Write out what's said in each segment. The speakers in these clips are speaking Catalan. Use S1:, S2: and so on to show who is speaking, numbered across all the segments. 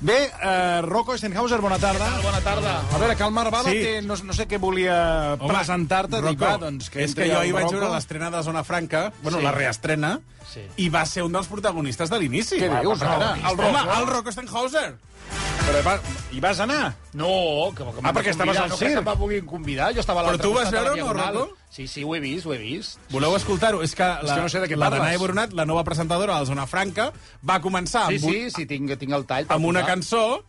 S1: Bé, eh, Rocco Stenhauser, bona tarda.
S2: Bona tarda.
S1: A veure, que el Marc Bala
S3: Sí.
S1: té, no, no sé què volia
S3: Home,
S1: presentar-te. Dic,
S3: Rocco,
S1: va, doncs que
S3: és
S1: entri
S3: que jo
S1: el
S3: hi vaig
S1: Rocco.
S3: veure l'estrena de Zona Franca, bueno,
S2: Sí.
S3: la reestrena,
S2: Sí.
S3: i va ser un dels protagonistes de l'inici.
S1: Què
S3: Va,
S1: dius,
S3: per
S1: home?
S3: ara. El, home, el Rocco Stenhauser.
S1: Però va, hi vas anar?
S2: No, que, que
S1: Ah, perquè estaves al
S2: no, que
S1: circ.
S2: em va vulguin convidar. Jo estava a l'altre
S3: Però tu ho vas
S2: costat de la
S3: veure o no,
S2: Diagonal.
S3: Rocco?
S2: Sí, sí, ho he vist, ho he vist.
S3: Voleu escoltar-ho? És que la,
S1: que no sé de què
S3: la
S1: parles.
S3: Danae Boronat, la nova presentadora de la Zona Franca, va començar
S2: Sí,
S3: amb,
S2: sí, sí, tinc, tinc el tall.
S3: un,
S2: per
S3: amb una
S2: posar.
S3: cançó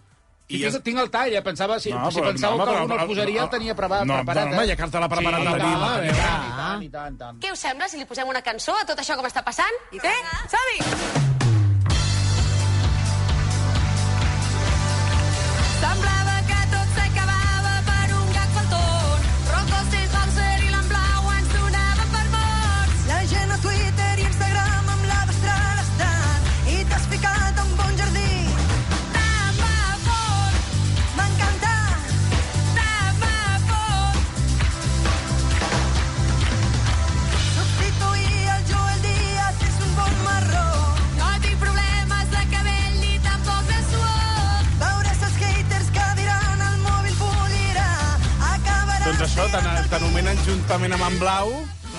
S2: Sí,
S3: i
S2: tinc,
S3: es-
S2: tinc el tall, eh? pensava, si, si
S1: però-
S2: pensàveu
S1: home,
S2: que
S1: però-
S2: algú no el posaria, el tenia preparat.
S1: No,
S2: preparat, eh?
S1: home, ja que te l'ha preparat
S3: Sí,
S1: la
S3: tenim,
S1: Daniela,
S3: la
S1: eh?
S3: tenim.
S2: Ah, I tant, i tant, i tant, i tant.
S4: Què us sembla si li posem una cançó a tot això que m'està passant? I
S5: ¿Eh?
S4: què?
S5: Xavi! Semblava que tot s'acabava per un gag faltón. Rocco Steinhauser i l'Amblau ens donaven per morts. La gent a Twitter i Instagram amb la vostra l'estat. I t'has ficat a un bon jardí. Tant va fort. M'encanta. Tant va fort. Substituir el Joel Díaz és un bon marró. No tinc problemes de cabell ni tampoc de suor. Veure els haters que diran el mòbil polirà. Acabarà...
S3: Doncs això, t'an- t'anomenen juntament amb en Blau.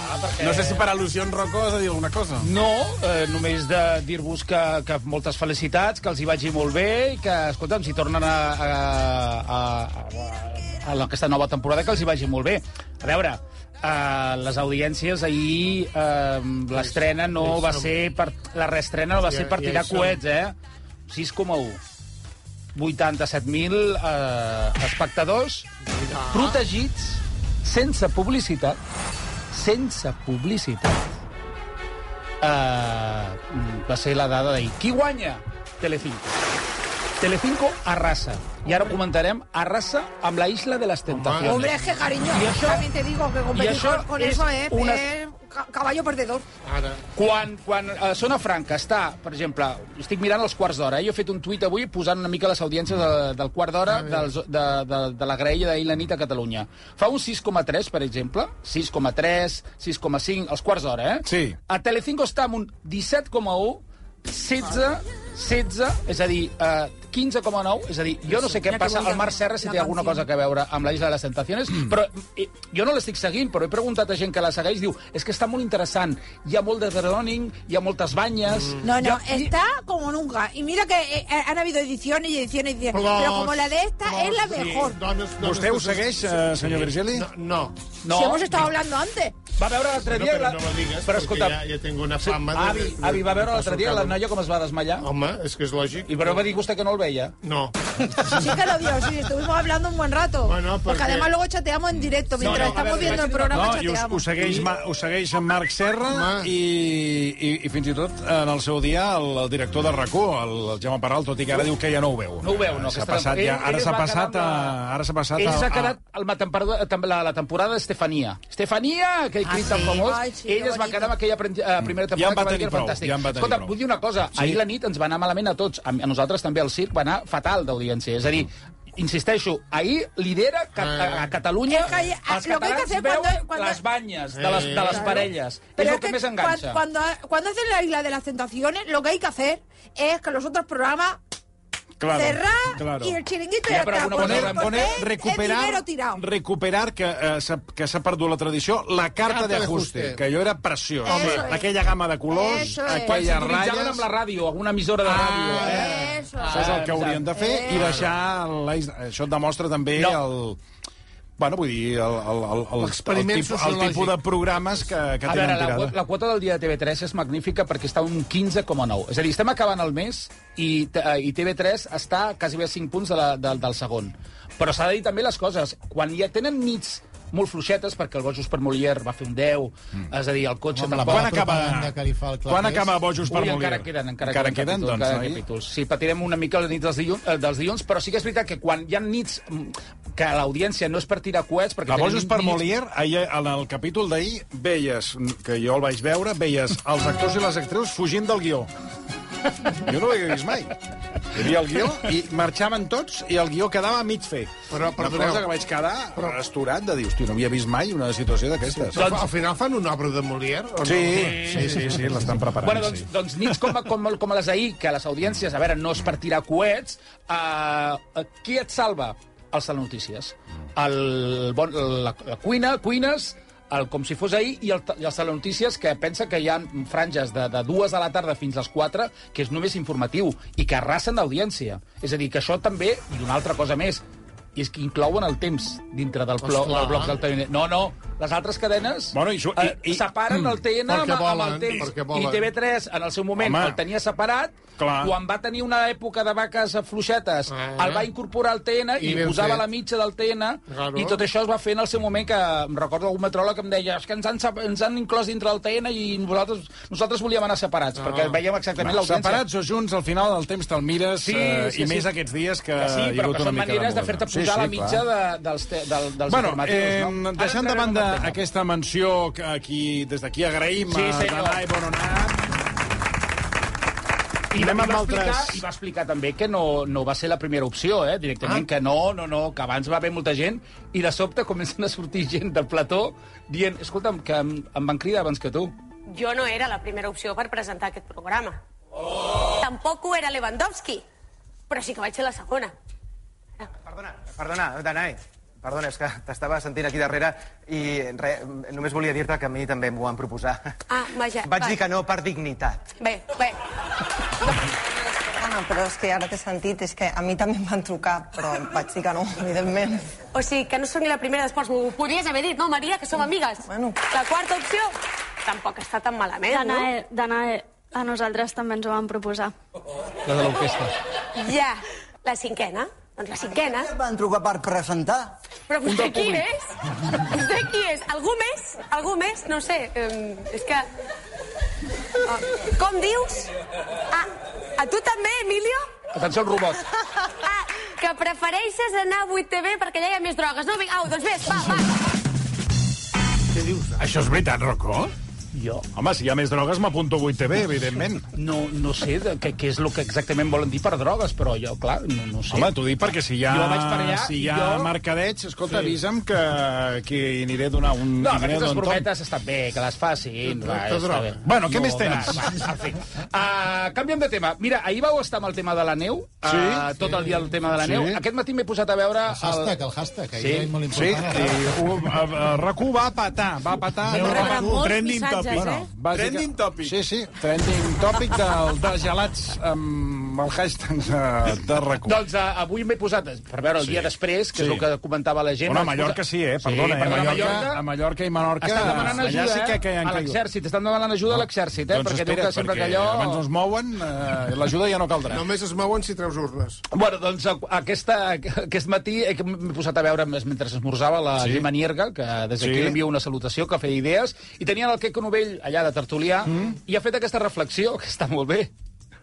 S2: Ah, perquè-
S3: No sé si per al·lusions, Rocco, has de dir alguna cosa.
S2: No, eh, només de dir-vos que, que moltes felicitats, que els hi vagi molt bé i que, escolta'm, si tornen a, a, a, a, a aquesta nova temporada, que els hi vagi molt bé. A veure, eh, les audiències ahir, eh, l'estrena no va ser... Per, la reestrena no va ser per
S6: Ja- ja hi
S2: tirar
S6: som.
S2: coets, eh? 6,1. 87.000 eh, espectadors protegits, sense publicitat, sense publicitat. Uh, va ser la dada d'ahir. Qui guanya? Telecinco. Telecinco arrasa. I ara ho comentarem. Arrasa amb la Isla de les Tentacions.
S7: Hombre, es que cariño,
S2: Y eso-
S7: también te digo que competir
S2: y eso
S7: con, con
S2: es
S7: eso es,
S2: una-
S7: es ca- caballo perdedor.
S6: Ara.
S2: Quan, quan a Zona Franca està, per exemple, estic mirant els quarts d'hora, eh? jo he fet un tuit avui posant una mica les audiències de, del quart d'hora dels- de, de, de la graella d'ahir la nit a Catalunya. Fa un 6,3, per exemple, 6,3, 6,5, els quarts d'hora, eh?
S3: Sí.
S2: A Telecinco està amb un 17,1, 16, 16, és a dir, eh, 15,9, és a dir, jo no sé què
S7: Mira que
S2: passa
S7: bonica,
S2: al Marc Serra si
S7: la
S2: té alguna
S7: canción.
S2: cosa a veure amb la Isla de les Tentacions,
S6: Mm.
S2: però eh, jo no l'estic seguint, però he preguntat a gent que la segueix, diu, és que està molt interessant, hi ha molt de droning, hi ha moltes banyes...
S6: Mm.
S7: No, no,
S2: hi ha-
S7: está como nunca. Y mira que eh, han habido ediciones y ediciones y ediciones.
S6: Plos,
S7: pero como la de esta
S6: plos,
S7: es la
S6: sí.
S7: mejor.
S6: Dones, dones,
S1: Vostè ho
S6: dones-
S1: segueix, eh, senyor Virgili?
S6: No, no.
S2: No,
S7: Si hemos estado hablando antes.
S2: va veure l'altre
S6: No,
S2: dia...
S6: però
S2: la-
S6: no lo digas,
S2: però
S6: perquè
S2: escolta,
S6: ja- ja tengo una fama de-
S2: avi,
S6: de-
S2: avi, va
S6: de-
S2: veure
S6: de
S2: l'altre dia
S6: passo
S2: la
S6: cada-
S2: noia com es va desmallar,
S6: Home, és que és lògic.
S2: i però va dir vostè que no el veia.
S6: No.
S7: Sí que lo vio, sí, estuvimos hablando un buen rato.
S6: Bueno,
S7: porque...
S6: porque-
S7: además luego chateamos en directo. Mientras
S2: no, a
S7: estamos
S2: ver,
S7: viendo el
S2: imagínate-
S7: programa,
S1: No, i us, ho
S7: chateamos.
S1: segueix, Ma- ho segueix en Marc Serra
S6: Home.
S1: i, i, i fins i tot en el seu dia el, el director de RAC1, el, el Jaume Peral, tot i que ara diu que ja no ho veu.
S2: No ho veu, no,
S1: S'ha
S2: aquesta-
S1: passat
S2: ell-
S1: ja,
S2: ell
S1: ara
S2: es
S1: s'ha
S2: va
S1: passat,
S2: quedar
S1: a,
S2: amb la-
S1: ara s'ha passat
S2: Ell s'ha
S1: a-
S2: quedat a la, temporada, tam- la, la temporada d'Estefania. Estefania, que he
S7: Ah,
S2: crit tan
S7: sí?
S2: famós,
S7: Ai, sí,
S2: ell
S7: que
S2: es va
S7: bonito.
S2: quedar amb aquella pren- eh, primera temporada
S1: Mm. Ja en va
S2: que va
S1: tenir
S2: dir que era
S1: prou,
S2: fantàstic.
S1: ja en va tenir
S2: Escolta,
S1: prou.
S2: vull dir una cosa.
S1: Sí.
S2: Ahir la nit ens va anar malament a tots. A, a nosaltres també el circ va anar fatal d'audiència. És a dir, insisteixo, ahir lidera ca a, a Catalunya
S7: Es Ah. que ahir-
S2: els
S7: lo que hay que
S2: catalans
S7: hacer
S2: veuen
S7: cuando- cuando-
S2: les banyes
S1: Eh.
S2: de les, de les
S6: Claro.
S2: parelles. és
S7: Pero es
S2: el que,
S7: que
S2: més enganxa.
S7: cuan- cuando, cuando hacen la isla de las tentaciones, lo que hay que hacer es que los otros programas
S1: Claro,
S7: cerrar
S1: claro.
S7: y el chiringuito
S2: Ya,
S7: ya,
S2: pero
S7: está.
S2: alguna
S1: Poner,
S2: cosa
S7: Porque
S1: poner,
S7: es
S1: recuperar,
S7: dinero tirado.
S1: recuperar que eh, s'ha que s'ha perdut la tradició, la carta
S6: Carta de
S1: d'ajuste,
S6: ajuste.
S1: que allò era preciós.
S7: Eso
S1: Home,
S7: es.
S1: aquella gamma de colors,
S7: Eso
S2: Quan
S7: es.
S1: aquelles
S2: s'utilitzaven amb
S1: ratlles...
S2: la ràdio, alguna emissora de ràdio.
S7: Ah,
S2: eh?
S7: Eso.
S1: Això és el que haurien de fer i deixar... La, això et demostra també
S2: No.
S1: el... Bueno, vull dir, el, el, el, el, el,
S6: L'experiment
S1: tipus, el
S6: sociològic.
S1: tipus de programes que, que
S2: A
S1: tenen
S2: veure, la,
S1: tirada.
S2: quo- la quota del dia de TV3 és magnífica perquè està un 15,9. És a dir, estem acabant el mes i, t- eh, i TV3 està quasi bé a 5 punts de la, de, del segon. Però s'ha de dir també les coses. Quan ja tenen nits molt fluixetes, perquè el Bojos per Molière va fer un 10, és a dir, el cotxe
S6: Home, la
S1: Mm.
S2: tampoc...
S1: Quan acaba,
S6: propaganda que li fa el
S1: quan
S6: Clapés.
S1: acaba Bojos per
S2: Ui,
S1: Molir?
S2: encara queden, encara,
S1: encara queden,
S2: capítols,
S1: doncs,
S2: encara
S1: noi?
S2: capítols. Sí, patirem una mica la nit dels dilluns, eh, dels dilluns, però sí que és veritat que quan hi ha nits mm, que l'audiència no és per tirar coets... Perquè
S1: A
S2: tenim
S1: Bojos per
S2: nits-
S1: Molière, ahir, eh, en el capítol d'ahir, veies, que jo el vaig veure, veies els actors i les actrius fugint del guió. Jo no l'havia vist mai. Hi havia el guió i marxaven tots i el guió quedava a mig fer.
S6: Però,
S1: una
S6: perdoneu.
S1: cosa que vaig quedar però... astorat de dir, hòstia, no havia vist mai una situació d'aquestes.
S6: Doncs... Al final fan una obra de Molière? O
S1: Sí,
S6: No?
S1: sí, sí, sí, l'estan preparant.
S2: Bueno, doncs, doncs nits com, com, com les d'ahir, que les audiències, a veure, no es partirà coets, eh, qui et salva? El Sal Notícies. El, bon, la, la cuina, cuines, el com si fos ahir, i el, ta- i el Sal Notícies, que pensa que hi ha franges de, de dues de la tarda fins les 4, que és només informatiu, i que arrasen d'audiència. És a dir, que això també, i una altra cosa més, i és que inclouen el temps dintre del, plo,
S6: Esclar.
S2: del bloc del TN. No, no, les altres cadenes
S1: Bueno, i això- i-
S2: eh,
S1: i-
S2: separen el TN amb,
S6: Perquè
S2: amb el
S6: volen,
S2: temps.
S6: perquè volen.
S2: I TV3, en el seu moment,
S1: Home.
S2: Home. el tenia separat.
S1: Clar.
S2: Quan va tenir una època de vaques eh, fluixetes,
S6: Ah.
S2: el va incorporar al TN i,
S6: I
S2: i
S6: ben
S2: posava
S6: fet.
S2: la mitja del TN.
S6: Claro.
S2: I tot això es va fer en el seu moment, que em recordo algun metròleg que em deia és que ens han, sep- ens han inclòs dintre del TN i nosaltres, nosaltres volíem anar separats, perquè veiem exactament l'audiència.
S1: Separats o junts, al final del temps te'l mires,
S2: Sí,
S1: eh,
S2: sí,
S1: i
S2: sí.
S1: més aquests dies que,
S2: Que Ah, sí,
S1: hi ha
S2: però
S1: hagut
S2: que
S1: una
S2: són
S1: mica
S2: maneres de
S1: moda.
S2: fer-te posar la mitja de, dels, te, del, dels
S1: Bueno,
S2: informatius.
S1: eh,
S2: no? Ara
S1: deixant de
S2: entrarem en
S1: banda
S2: el tema.
S1: aquesta menció que aquí, des d'aquí agraïm
S2: Sí,
S1: a
S2: senyor.
S1: Dalai Boronat,
S2: I,
S3: Anem
S2: va- i
S3: amb
S2: va
S3: altres.
S2: Explicar, I va explicar també que no, no va ser la primera opció, eh, directament, ah. que no, no, no, que abans va haver molta gent, i de sobte comencen a sortir gent del plató dient, escolta'm, que em, em van cridar abans que tu.
S4: Jo no era la primera opció per presentar aquest programa. Oh! Tampoc ho era Lewandowski, però sí que vaig ser la segona.
S8: Perdona, perdona, Danai. Perdona, és que t'estava sentint aquí darrere i re, només volia dir-te que a mi també m'ho van proposar.
S4: Ah, vaja.
S8: Vaig dir que no per dignitat.
S4: Bé, bé.
S9: Anna, però és que ara t'he sentit, és que a mi també em van trucar, però vaig dir que no, evidentment.
S4: O sigui, que no sóc ni la primera d'esports. M'ho podries haver dit, no, Maria, que som amigues?
S9: Bueno.
S4: La quarta opció tampoc està tan malament, no?
S10: Danae, Danae, a nosaltres també ens ho van proposar.
S2: La de l'orquestra.
S4: Ja. La cinquena? Doncs la cinquena.
S11: Van trucar per presentar.
S4: Però vostè qui és? Vostè qui és? Algú més? Algú més? No ho sé. Um, és que... Oh, com dius? Ah, a tu també, Emilio?
S2: Atenció al robot.
S4: Ah, que prefereixes anar a 8TV perquè allà hi ha més drogues. No, vinc, au, doncs vés, va, va.
S1: Això és veritat, Rocco?
S2: Jo
S1: Home, si hi ha més drogues, m'apunto a 8TV, evidentment.
S2: no, no sé de, què, què és el que exactament volen dir per drogues, però jo, clar, no, no sé.
S1: Home, t'ho dic perquè si hi ha,
S2: Jo vaig per allà
S1: si
S2: i
S1: hi ha
S2: jo-
S1: mercadeig, escolta, sí. avisa'm que, que hi aniré a donar un... hi aniré
S2: No,
S1: a
S2: aquestes
S1: donar un tomb.
S2: brometes estan bé, que les facin.
S6: Tot-
S2: Va,
S6: tot
S2: està
S6: droga.
S2: bé.
S1: doncs, Bueno, què més tens?
S2: Va, va, en fi. Uh, canviem de tema. Mira, ahir vau estar amb el tema de la neu, uh,
S1: Sí.
S2: tot el dia el tema de la
S1: Sí.
S2: neu. Aquest matí m'he posat a veure...
S11: El hashtag, el hashtag, ahir
S2: Sí,
S11: era molt
S1: Sí,
S11: important.
S1: i uh, RAC1 va patar, va patar...
S11: Vam rebre
S1: va-
S11: molts
S3: Trending topic.
S1: Bueno, bàsica...
S3: Trending topic.
S1: Sí, sí, trending topic del, de gelats amb el hashtag de, de RAC1.
S2: Doncs uh, avui m'he posat, per veure el sí. dia després, que sí. és el que comentava la gent...
S1: Bueno, a
S2: m'he
S1: Mallorca
S2: posat-
S1: sí, eh? Perdona,
S2: sí,
S1: eh?
S2: perdona,
S1: a, Mallorca,
S2: Mallorca,
S1: a Mallorca i Menorca...
S2: Estan demanant
S1: allà
S2: ajuda
S1: sí que, que hi
S2: eh?
S1: han
S2: a
S1: caigut.
S2: l'exèrcit, estan demanant ajuda a l'exèrcit, eh?
S1: Doncs
S2: perquè
S1: espera't,
S2: diu que sempre
S1: perquè
S2: que allò...
S1: abans no es mouen, eh, l'ajuda ja no caldrà.
S6: Només es mouen si treus urnes.
S2: Bueno, doncs a- aquesta, aquest matí eh, que m'he posat a veure més mentre esmorzava la sí. Gemma Nierga, que des d'aquí
S1: Sí.
S2: sí. li envio una salutació, que feia idees, i tenia el Queco Novell allà de tertulià, mm. i ha fet aquesta reflexió, que està molt bé.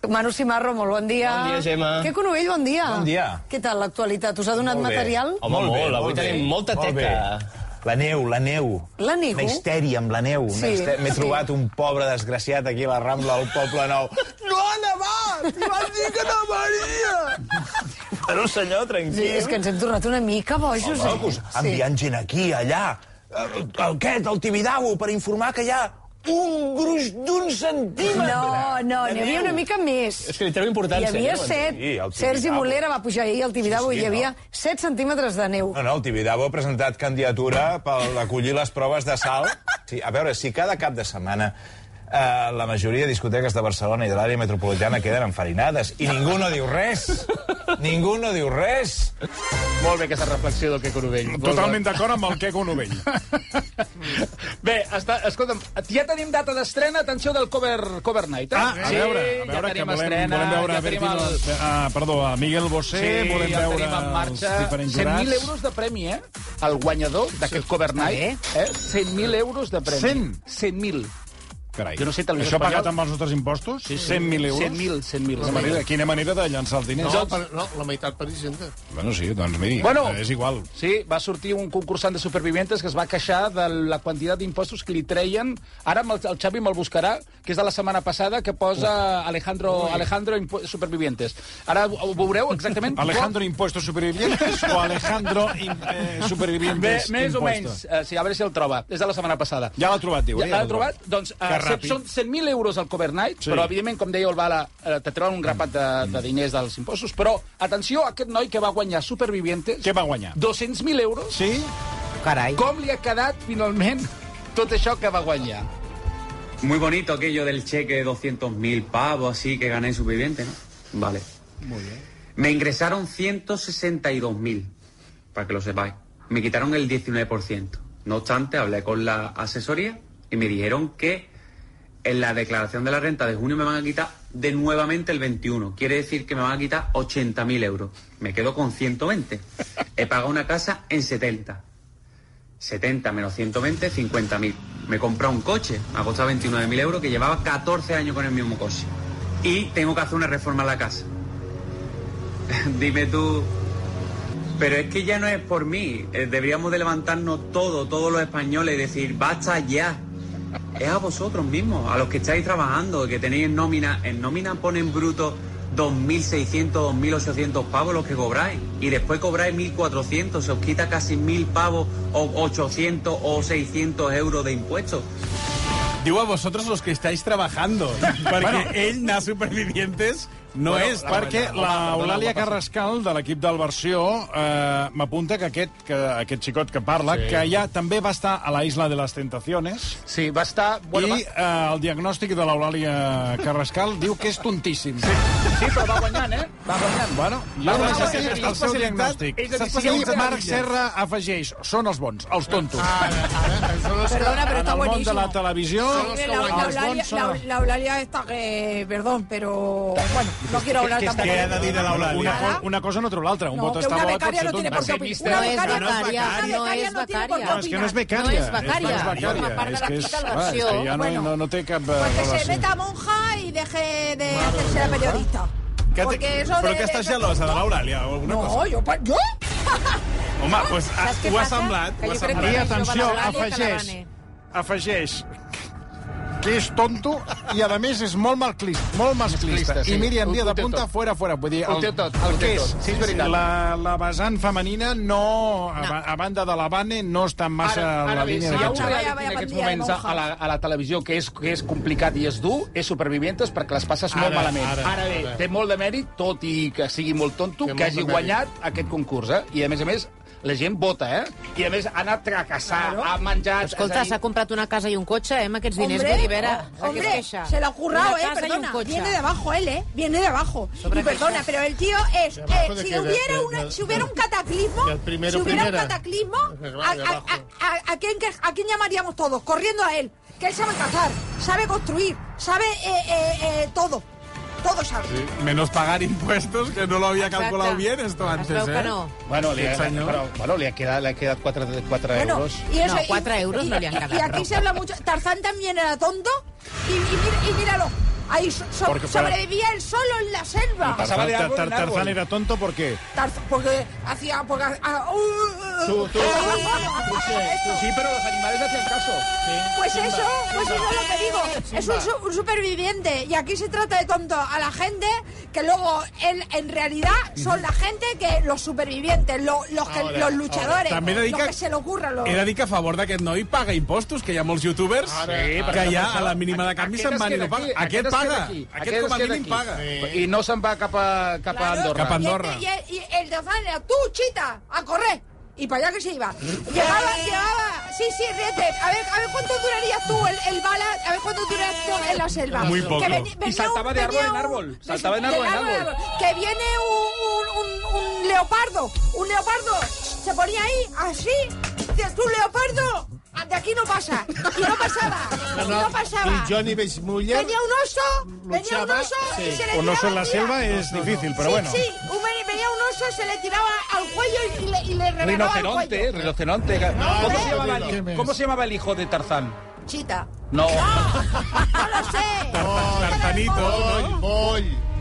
S5: Manu Simarro, molt bon dia.
S8: Bon dia, Gemma.
S5: Que Conovell, bon dia.
S11: Bon dia.
S5: Què tal l'actualitat? Us ha donat material?
S8: Home, molt, molt avui tenim molta teca.
S11: La neu, la neu.
S5: La neu?
S11: Una histèria amb la neu.
S5: Sí,
S11: Una histè- M'he
S5: sí.
S11: trobat un pobre desgraciat aquí a la Rambla del Poble Nou. No ha nevat! I vas dir que nevaria! Però, senyor, tranquil.
S5: Sí, és que ens hem tornat una mica bojos. eh?
S11: Locos, enviant gent Pues, em aquí, allà, eh, aquest, el Tibidabo, per informar que hi ha un gruix d'un centímetre.
S5: No, no,
S11: de
S5: n'hi havia
S11: neu.
S5: una mica més.
S8: És que li treu
S5: Hi
S8: importància.
S5: havia
S8: no?
S5: set.
S11: Sí, el
S5: Sergi
S11: Tibidabo.
S5: Molera va pujar ahir al Tibidabo
S11: Sí, sí,
S5: i hi havia
S11: no?
S5: 7 centímetres de neu.
S7: Ah,
S11: No, no, el Tibidabo ha presentat candidatura per acollir les proves de sal. Sí, a veure, si cada cap de setmana eh, la majoria de discoteques de Barcelona i de l'àrea metropolitana queden enfarinades i ningú no diu res. Ningú no diu res.
S2: Molt bé aquesta reflexió del Queco Novell. Molt
S1: Totalment d'acord amb el Queco Novell.
S2: Bé, està, escolta'm, ja tenim data d'estrena, atenció del cover, cover night. Eh?
S1: Ah, a
S2: sí,
S1: veure, a veure
S2: ja
S1: que
S2: tenim
S1: volem,
S2: estrena,
S1: volem veure
S2: ja
S1: a
S2: tenim
S1: Bertino,
S2: el...
S1: ah, perdó, a Miguel Bosé, volem
S2: ja
S1: veure
S2: tenim en marxa
S1: els diferents
S2: 100.000
S1: jurats.
S2: euros de premi, eh? El guanyador d'aquest cover night. Eh? 100.000 euros de premi.
S1: 100?
S2: 100.000.
S1: Carai.
S2: Jo no sé, televisió
S1: Això
S2: espanyola-
S1: pagat amb els nostres impostos?
S2: Sí, sí.
S1: 100.000 euros?
S2: 100.000, 100.000.
S1: Quina manera, quina manera de llançar els diners.
S6: No, per, no, la meitat per Hisenda. Eh,
S1: Bueno, sí, doncs miri,
S2: Doncs Bueno.
S1: és igual.
S2: Sí, va sortir un concursant de supervivientes que es va queixar de la quantitat d'impostos que li treien. Ara amb el, el Xavi me'l buscarà, que és de la setmana passada, que posa Alejandro, Alejandro impo- supervivientes. Ara ho, ho veureu exactament...
S1: Alejandro Impuestos Supervivientes o Alejandro im, eh,
S2: Bé,
S1: Supervivientes
S2: més o menys,
S1: Impuestos?
S2: eh, sí, a veure si el troba. És de la setmana passada.
S1: Ja l'ha trobat, diu. eh,
S2: Ja, l'ha trobat? Doncs uh,
S1: Que ràpid.
S2: són 100.000 euros al Cover Night,
S1: Sí.
S2: sí. Mm. però evidentment, com deia el Bala, eh, te treuen un grapat de, de diners dels impostos, però atenció a aquest noi que va guanyar Supervivientes.
S1: Què va guanyar?
S2: 200.000 euros.
S1: Sí?
S2: Carai. Com li ha quedat, finalment, tot això que va guanyar?
S12: Muy bonito aquello del cheque de 200.000 pavos, así que gané superviviente, ¿no? Vale.
S2: Muy bien.
S12: Me ingresaron 162.000, para que lo sepáis. Me quitaron el 19%. No obstante, hablé con la asesoría y me dijeron que en la declaración de la renta de junio me van a quitar de nuevamente el 21. Quiere decir que me van a quitar 80.000 euros. Me quedo con 120. He pagado una casa en 70. 70 menos 120, 50.000. Me he comprado un coche, me ha costado 29.000 euros, que llevaba 14 años con el mismo coche. Y tengo que hacer una reforma a la casa. Dime tú. Pero es que ya no es por mí. Eh, Deberíamos de levantarnos todos, todos los españoles, y decir, basta ya. Es a vosotros mismos, a los que estáis trabajando, que tenéis en nómina. En nómina ponen bruto 2.600, 2.800 pavos los que cobráis. Y después cobráis 1.400, se os quita casi 1.000 pavos o 800 o 600 euros de impuestos.
S3: Diu a vosotros los que estáis trabajando, perquè bueno. ell anar a Supervivientes no
S1: Bueno,
S3: és...
S1: perquè l'Eulàlia Carrascal, de l'equip del Versió, eh, m'apunta que, aquest, que aquest xicot que parla,
S2: Sí.
S1: sí. que ja també va estar a la Isla de les Tentaciones,
S2: Sí, va estar... Bueno,
S1: i eh, el diagnòstic de l'Eulàlia Carrascal diu que és tontíssim. Sí.
S2: va, sí, però va guanyant, eh? Va guanyant.
S1: Bueno,
S2: Va
S1: jo només
S2: guanyant.
S1: sé que és el seu diagnòstic.
S2: És a dir,
S1: I Marc Serra afegeix, són els bons, els tontos.
S7: Perdona, pero
S1: Ah, en
S7: está
S1: el món de
S7: buenísimo.
S1: la televisió,
S7: Sí, la-
S1: els
S7: la Eulalia-
S1: bons
S7: la-
S1: són...
S7: La Eulalia está que... Perdón, pero... Bueno, no quiero hablar
S1: Pues que
S7: tampoco.
S1: està-
S7: de
S1: una,
S7: Eulàlia?
S1: co- una cosa no treu l'altra. Un
S7: No,
S1: vot
S7: que
S1: està
S7: una
S1: bo, pot
S7: becaria
S1: ser
S7: no tiene
S1: tonta.
S7: por qué opinar. Una becaria no
S13: becària,
S7: Una becaria no tiene por qué
S1: No, és que no és becària.
S13: No és becària.
S1: És, que no és
S13: Forma
S1: becària.
S13: part de
S1: és que és,
S13: l'equip del
S1: clar, és que
S13: Versió.
S1: ja no,
S13: Bueno.
S1: no, no té cap eh,
S7: Porque se
S1: relació.
S7: meta monja y deje de hacerse la periodista.
S3: Que
S7: Porque eso
S3: Però
S7: de-
S3: que estàs
S7: de-
S3: gelosa de l'Eulàlia o alguna
S7: No,
S3: cosa?
S7: jo... pa- jo?
S3: Home, doncs, ah,
S7: Saps què
S3: ho ha
S7: passa?
S3: semblat.
S7: Que
S3: ho ha
S7: jo crec
S3: semblat.
S7: que
S1: I
S7: era
S1: atenció,
S7: jove l'Eulàlia que la
S1: afegeix, afegeix que és tonto i, a més, és molt malclista, molt masclista.
S2: Masclista, sí.
S1: I Míriam
S2: Ho-
S1: Díaz
S2: ho té
S1: apunta
S2: tot.
S1: fora, fora. Vull dir,
S2: Ho té tot, ho
S1: el
S2: té
S1: que és,
S2: tot. Sí, és veritat.
S1: La, la vessant femenina no, a, ba- a banda de la Bane, no està massa a la
S2: bé,
S1: línia
S2: si hi ha un
S1: d'aquest joc.
S2: reality en aquests moments a, a, la, a la televisió que és, que és complicat i és dur, és Supervivientes perquè les passes molt
S1: Ara,
S2: malament.
S1: ara,
S2: ara bé,
S1: ara.
S2: té molt de mèrit, tot i que sigui molt tonto,
S1: Té
S2: que
S1: molt
S2: hagi
S1: de mèrit.
S2: guanyat aquest concurs, eh? I a més a més, la gent vota, eh? I a més ha anat a caçar,
S13: Claro.
S2: ha menjat...
S13: Escolta,
S2: és a
S13: s'ha
S2: dir,
S13: comprat una casa i un cotxe, eh, amb aquests diners,
S7: Hombre,
S13: vull dir, a veure,
S7: oh,
S13: a què
S7: hombre,
S13: es queixa?
S7: se le ha currado,
S13: Una
S7: eh,
S13: casa i un
S7: perdona.
S13: cotxe.
S7: Viene de abajo él, eh. Viene de abajo.
S13: Sobre
S7: Y perdona,
S13: queixa.
S7: pero el tío es... eh,
S6: abajo de
S7: si,
S6: que-
S7: hubiera
S6: de-
S7: una,
S6: de-
S7: si hubiera un cataclismo...
S6: del primero,
S7: si hubiera
S6: primera.
S7: un cataclismo...
S6: De
S7: A,
S6: abajo.
S7: a- a- a- a quién, que- a quién llamaríamos todos? Corriendo a él. Que él sabe cazar, sabe construir, sabe eh, eh, eh, todo. Todo sabe.
S3: Menos pagar impuestos, que no lo había
S7: Exacte.
S3: calculado bien esto antes,
S7: veu que
S3: eh?
S7: no.
S2: Bueno, li ha,
S3: Aquest senyor.
S2: però, bueno, li ha quedat, li ha quedat 4, 4
S7: Bueno,
S2: euros.
S7: y eso,
S13: No, cuatro euros no le han
S7: Y
S13: ganado.
S7: aquí se habla mucho. Tarzán también era tonto. Y, y mira- y míralo. Ahí so- so-
S1: Porque fuera-
S7: sobrevivía él solo en la selva.
S1: Tarzán,
S2: de árbol en
S1: Tar- Tar-
S2: árbol.
S1: Tarzán era tonto, ¿por qué?
S7: Tarzán, porque hacía. Porque, ah, uh, uh,
S2: Tú, tú,
S7: uh,
S2: tú, sí, tú sí, pero los animales hacían caso.
S7: Pues eso, pues eso es lo que digo. Es un, su- un superviviente. Y aquí se trata de tonto a la gente que luego en, en realidad son la gente que los supervivientes, lo- los, que,
S3: Ahora,
S7: los luchadores,
S3: ahora. També he de dir
S7: los
S3: que-
S7: que se le ocurran. Los...
S3: He de dir que a favor d'aquest noi paga impostos, que hi ha molts youtubers que ja a la mínima de canvi se'n van i no paga. Aquest, paga, aquest, com a mínim paga.
S2: I no se'n va cap a, cap a Andorra.
S3: Cap a Andorra.
S7: Y el, y el Tarzán era tú, chita, a correr. Y para allá que se iba. Llegaba, llegaba. Sí, sí, ríete. A ver, a ver cuánto durarías tú el, el bala, a ver cuánto durarías tú en la selva.
S2: Muy poco.
S7: Que veni-
S2: Y
S7: venía
S2: saltaba
S7: un-
S2: de árbol
S7: venía
S2: en
S7: un-
S2: árbol.
S7: de-
S2: Saltaba en
S7: del
S2: árbol en
S7: árbol
S2: árbol.
S7: Que viene un, un, un, un leopardo. Un leopardo se ponía ahí, así. Dices, tú, leopardo, de aquí no pasa. Y no pasaba. Y no pasaba.
S6: I Johnny Bechmuller...
S7: Venía un oso, venía un
S6: Luchaba,
S7: oso y
S6: sí.
S7: se le
S1: Un oso en la
S7: tiraba encima.
S1: selva és difícil, però
S7: sí,
S1: bueno.
S7: Sí, un- venía un oso, se le tiraba al cuello y le, y le regalaba el
S2: Rinoceronte, ¿eh?
S7: cuello.
S2: rinoceronte. ¿Cómo, se llamaba el,
S6: ¿Qué
S2: ¿Cómo se llamaba el hijo de Tarzán?
S4: Chita.
S2: No.
S4: No lo sé.
S1: Tartanito,
S6: no?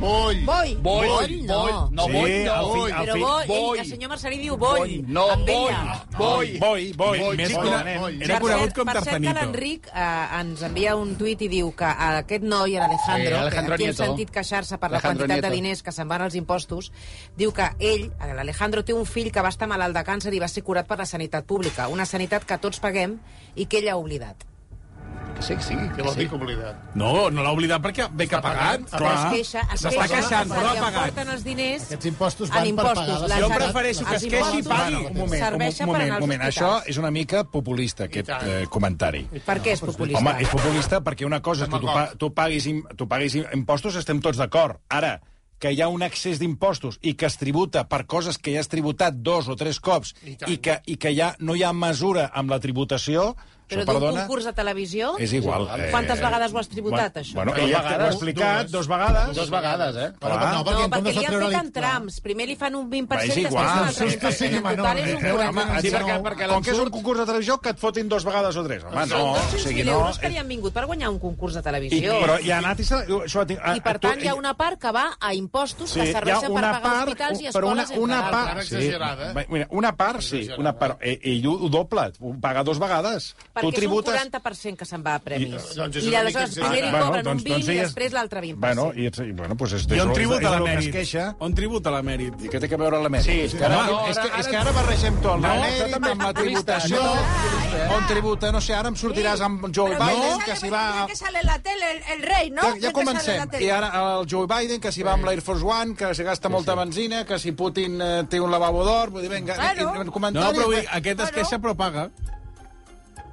S6: Boll, boll.
S4: Boll.
S2: Boll,
S6: Boll,
S2: no.
S6: boll.
S2: No,
S1: Sí,
S2: boll, no.
S1: boll.
S2: Al fi- al
S7: Però
S2: fi-
S7: bo, ell, el
S2: boll.
S7: senyor Marcelí diu boll.
S2: No,
S7: amb
S2: boll,
S7: ella.
S2: boll.
S1: Boi, boi,
S2: Boi,
S1: més
S2: boi,
S1: conegut-
S2: boi.
S1: era conegut com
S7: per cert que
S1: Tartanito.
S7: l'Enric eh, ens envia un tuit i diu que a aquest noi,
S2: Sí,
S7: l'Alejandro, que
S2: Alejandro
S7: aquí hem
S2: Nieto.
S7: sentit queixar-se per la
S2: Alejandro
S7: quantitat de
S2: Nieto.
S7: diners que se'n van als impostos, diu que ell, l'Alejandro, té un fill que va estar malalt de càncer i va ser curat per la sanitat pública, una sanitat que tots paguem i que ell ha oblidat.
S2: Que sí, que sí.
S6: Què vol dir que oblidat?
S14: No, no l'ha oblidat perquè ve que ha pagat.
S7: Però es queixa, es
S14: S'està
S7: queixa,
S14: queixant,
S7: se
S14: però
S7: li
S14: ha pagat.
S7: aporten els diners
S6: Aquests impostos
S7: en
S6: van
S7: impostos.
S6: per pagar...
S7: La
S6: la
S1: Jo
S7: sanitat-
S6: sanitat.
S1: prefereixo que
S7: els
S1: es queixi i
S7: impostos
S1: pagui.
S6: Un
S1: moment,
S7: serveixen per anar als
S1: Això
S7: hospitals.
S1: és una mica populista, aquest
S6: I tant.
S1: eh, comentari.
S7: Per què és populista?
S1: Home, és populista perquè una cosa és que tu, pa, tu, paguis, im- tu paguis im- impostos, estem tots d'acord. Ara, que hi ha un excés d'impostos i que es tributa per coses que ja has tributat dos o tres cops i, que, i que ja no hi ha mesura amb la tributació,
S7: Però
S1: això,
S7: d'un
S1: perdona,
S7: concurs de televisió...
S1: és igual. eh,
S7: Quantes vegades ho has tributat, això?
S1: Bueno,
S2: Dues
S1: ella ho ha
S2: vegades,
S1: explicat
S6: dues.
S1: dos vegades.
S2: Dos vegades, eh?
S6: Però,
S1: Clar.
S6: no, perquè
S7: No,
S6: en
S7: perquè
S6: comptes
S7: li
S6: de
S7: han
S6: treure
S7: fet en
S6: li
S7: trams. Primer li fan un 20%
S1: Va, és
S7: i després
S1: igual.
S7: un
S1: Sí,
S7: altre
S1: és que
S7: 20%.
S1: sí,
S7: en
S6: Manolo,
S7: total és un
S6: eh,
S1: Eh,
S7: 40.
S1: home,
S6: Sí,
S1: si no-
S2: perquè- perquè
S1: com que és
S2: l'ensurt-
S1: un concurs de televisió, que et fotin dos vegades o tres. Home, no. O sigui,
S7: 200.000
S1: no.
S7: euros que li han vingut per guanyar un concurs de
S1: I,
S7: televisió.
S1: però hi ha anat i s'ha... això ha tingut-
S7: I, per
S1: ah, tu-
S7: tant, hi ha una part que va a impostos que
S1: hi ha
S7: serveixen per
S1: una
S7: pagar hospitals i
S1: però
S7: escoles,
S1: una, una
S6: d'altres.
S1: part,
S6: Tan exagerada, eh?
S1: Va, Mira, una part, sí,
S6: Exagerada.
S1: una part. Eh, Ell ho dobla, ho paga dos vegades.
S7: Perquè
S1: tu tributes...
S7: és un 40% que se'n va a premis. I,
S6: I- doncs és una
S7: aleshores
S6: mica
S7: primer li
S1: Bueno,
S7: cobren
S1: doncs-
S7: un 20
S1: doncs
S7: i
S1: ella-
S7: després l'altre 20%.
S1: Bueno, i, ets- i bueno, doncs és,
S14: I
S1: és
S14: on
S1: el-
S14: tributa
S1: és
S14: la
S1: el que es
S14: mèrit?
S1: queixa.
S14: On tributa la mèrit?
S1: I què té que veure la mèrit?
S2: Sí,
S1: és que ara,
S2: no,
S1: no,
S2: ara-
S1: és que, és que
S2: ara-
S1: ara barregem tot. La
S2: No,
S1: mèrit
S2: totalment
S1: amb la
S2: populista,
S1: tributació. On tributa, no sé, ara em sortiràs amb Joe
S4: Pero
S1: Biden,
S4: sale-
S1: que si va...
S4: Que sale en la tele el, el rei, no?
S1: Ja,
S4: Que
S1: ja
S4: te sale en
S1: comencem.
S4: la tele.
S1: I ara el Joe Biden, que s'hi va amb l'Air Force One, que s'hi gasta molta benzina, que si Putin eh, té un lavabo d'or, vull dir, vinga,
S4: Claro.
S1: i- i-
S14: No,
S1: comentaris...
S14: però vull, dir, aquest es
S4: Bueno.
S14: queixa però paga.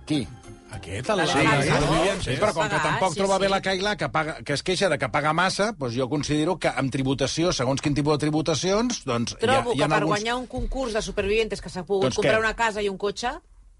S1: Qui?
S14: Aquest, el
S1: Sí,
S14: Alejandro.
S1: sí, sí, però com que
S7: Pagar,
S1: tampoc
S7: sí,
S1: troba
S7: sí.
S1: bé la Cailà, que, paga, que es queixa de que paga massa, doncs jo considero que amb tributació, segons quin tipus de tributacions, doncs hi ha,
S7: Trobo
S1: hi
S7: que
S1: ha
S7: per
S1: alguns...
S7: guanyar un concurs de supervivientes que s'ha pogut
S1: Doncs
S7: comprar
S1: què?
S7: una casa i un cotxe,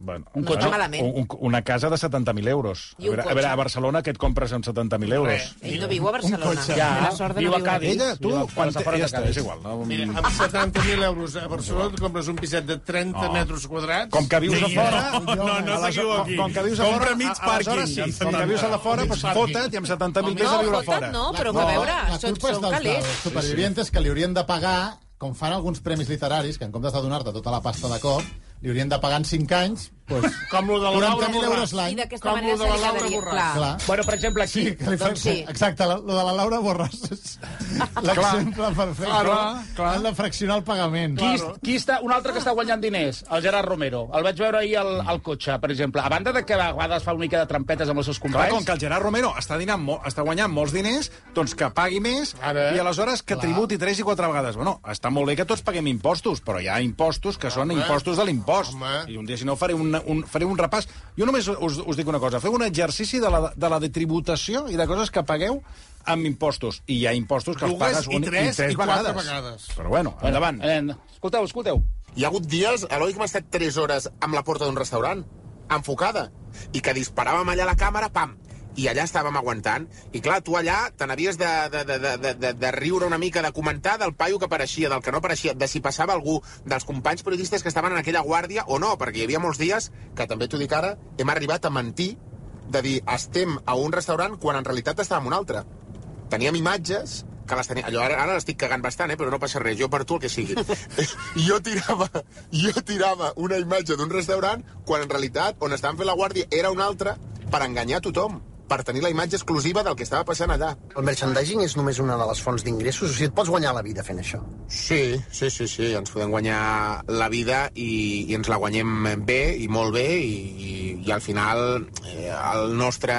S1: Bueno,
S7: Un cotxe.
S1: bueno,
S7: Malament.
S1: Un, un- una casa de 70.000 euros.
S7: I
S1: a,
S7: un
S1: veure, a
S7: cotxe.
S1: veure, a Barcelona què et compres amb 70.000 euros?
S7: ell no viu a Barcelona.
S6: cotxe.
S7: Té la sort de
S2: Viu
S7: no
S2: a
S7: viure.
S2: Cádiz.
S1: Ella, tu,
S2: Mira,
S1: quan
S2: els
S1: te,
S2: afores
S1: ja
S2: de
S1: està,
S2: Cádiz.
S1: és igual. No?
S6: Mira, amb 70.000 euros a Barcelona et compres un piset de 30
S1: No.
S6: metres quadrats.
S1: Com que vius a fora...
S14: No, no, no
S1: aleshores-
S14: s'equivoqui.
S1: Com, com que vius a
S14: Compra
S1: fora,
S14: mig
S1: a- aleshores
S14: pàrquing.
S1: sí, com que vius a la fora, doncs fota't i amb 70.000 vés a
S7: No,
S1: viure a
S7: fota't
S1: fora.
S7: no, però que a veure,
S12: la
S7: són,
S12: culpa és
S7: són
S12: dels, dels
S7: calés.
S12: supervivientes que li haurien de pagar, com fan alguns premis literaris, que en comptes de donar-te tota la pasta de cop, li haurien de pagar en 5 anys doncs,
S6: Com lo de la Laura
S12: 40.000
S6: Borràs.
S12: euros l'any.
S7: I d'aquesta
S6: Com
S7: manera
S6: lo
S7: se
S6: de la
S7: li
S6: Laura
S7: quedaria...
S6: Borràs.
S7: Clar.
S12: Clar.
S2: Bueno, per exemple, aquí...
S12: Sí, que li fan...
S7: Doncs sí.
S12: Exacte, la- lo de la Laura Borràs és l'exemple perfecte.
S1: Clar, clar.
S12: Han de fraccionar el pagament.
S2: Qui, qui està, un altre que està guanyant diners, el Gerard Romero. El vaig veure ahir al, al cotxe, per exemple. A banda de que a vegades fa una mica de trampetes amb els seus
S1: Clar,
S2: companys...
S1: com que el Gerard Romero està, dinant, mo- està guanyant molts diners, doncs que pagui més
S6: Ara.
S1: i aleshores que
S12: Clar.
S1: tributi 3 i 4 vegades. Bueno, està molt bé que tots paguem impostos, però hi ha impostos que són impostos de l'impost.
S6: Home.
S1: I un dia, si no, faré un, un, faré un repàs. Jo només us, us dic una cosa. Feu un exercici de la, de la de tributació i de coses que pagueu amb impostos. I hi ha impostos que
S6: Dues
S1: els pagues
S6: i
S1: un,
S6: tres
S1: tres
S6: i quatre
S1: vegades.
S6: vegades.
S1: Però bueno, endavant.
S2: Eh, escolteu, escolteu.
S15: Hi ha hagut dies, Eloi, que hem estat 3 hores amb la porta d'un restaurant, enfocada, i que disparàvem allà a la càmera, pam, i allà estàvem aguantant. I clar, tu allà te n'havies de, de, de, de, de, de, de riure una mica, de comentar del paio que apareixia, del que no apareixia, de si passava algú dels companys periodistes que estaven en aquella guàrdia o no, perquè hi havia molts dies que, també t'ho dic ara, hem arribat a mentir de dir estem a un restaurant quan en realitat estàvem a un altre teníem imatges que les tenia... Allò, ara, ara l'estic cagant bastant, eh, però no passa res, jo per tu el que sigui. jo, tirava, jo tirava una imatge d'un restaurant quan en realitat on estaven fent la guàrdia era una altra per enganyar tothom per tenir la imatge exclusiva del que estava passant allà.
S16: El merchandising és només una de les fonts d'ingressos, o sigui, et pots guanyar la vida fent això.
S15: Sí, sí, sí, sí, ens podem guanyar la vida i, i ens la guanyem bé i molt bé i, i, i al final eh, el nostre,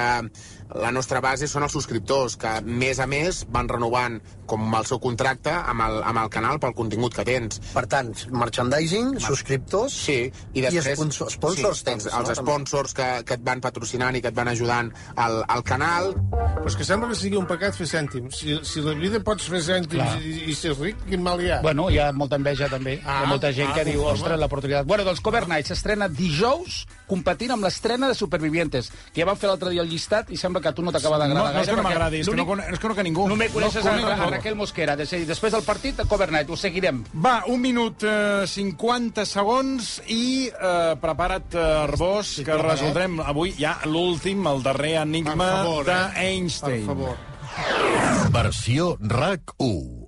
S15: la nostra base són els subscriptors que més a més van renovant com el seu contracte amb el, amb el canal pel contingut que tens.
S16: Per tant, merchandising, subscriptors...
S15: Sí, i després...
S16: I sponsor- sponsors
S15: sí,
S16: tens,
S15: els, els
S16: no?
S15: sponsors que, que et van patrocinant i que et van ajudant al, al canal.
S6: Però és que sembla que sigui un pecat fer cèntims. Si, si la vida pots fer
S2: Clar.
S6: cèntims i, i ser ric, quin mal hi ha?
S2: Bueno, hi ha molta enveja, també. Ah, hi ha molta gent ah,
S6: ah,
S2: que diu,
S6: conforme.
S2: ostres, l'oportunitat... Bueno, doncs Cover Night s'estrena dijous competint amb l'estrena de Supervivientes, que ja van fer l'altre dia el llistat i sembla que a tu no t'acaba d'agradar
S1: No, no és que no
S2: perquè
S1: m'agradi, és que no
S2: l'únic-
S1: con- és que no que ningú.
S2: Només
S1: No
S2: coneixes a,
S1: conec
S2: a
S1: ningú.
S2: Raquel Mosquera. Des, després del partit, a Covernight, ho seguirem.
S1: Va, un minut eh, 50 segons i eh, prepara't, eh, Arbós, que
S2: preparat.
S1: resoldrem avui ja l'últim, el darrer enigma
S17: Per favor, eh?
S1: d'Einstein.
S17: Per favor. Versió RAC 1.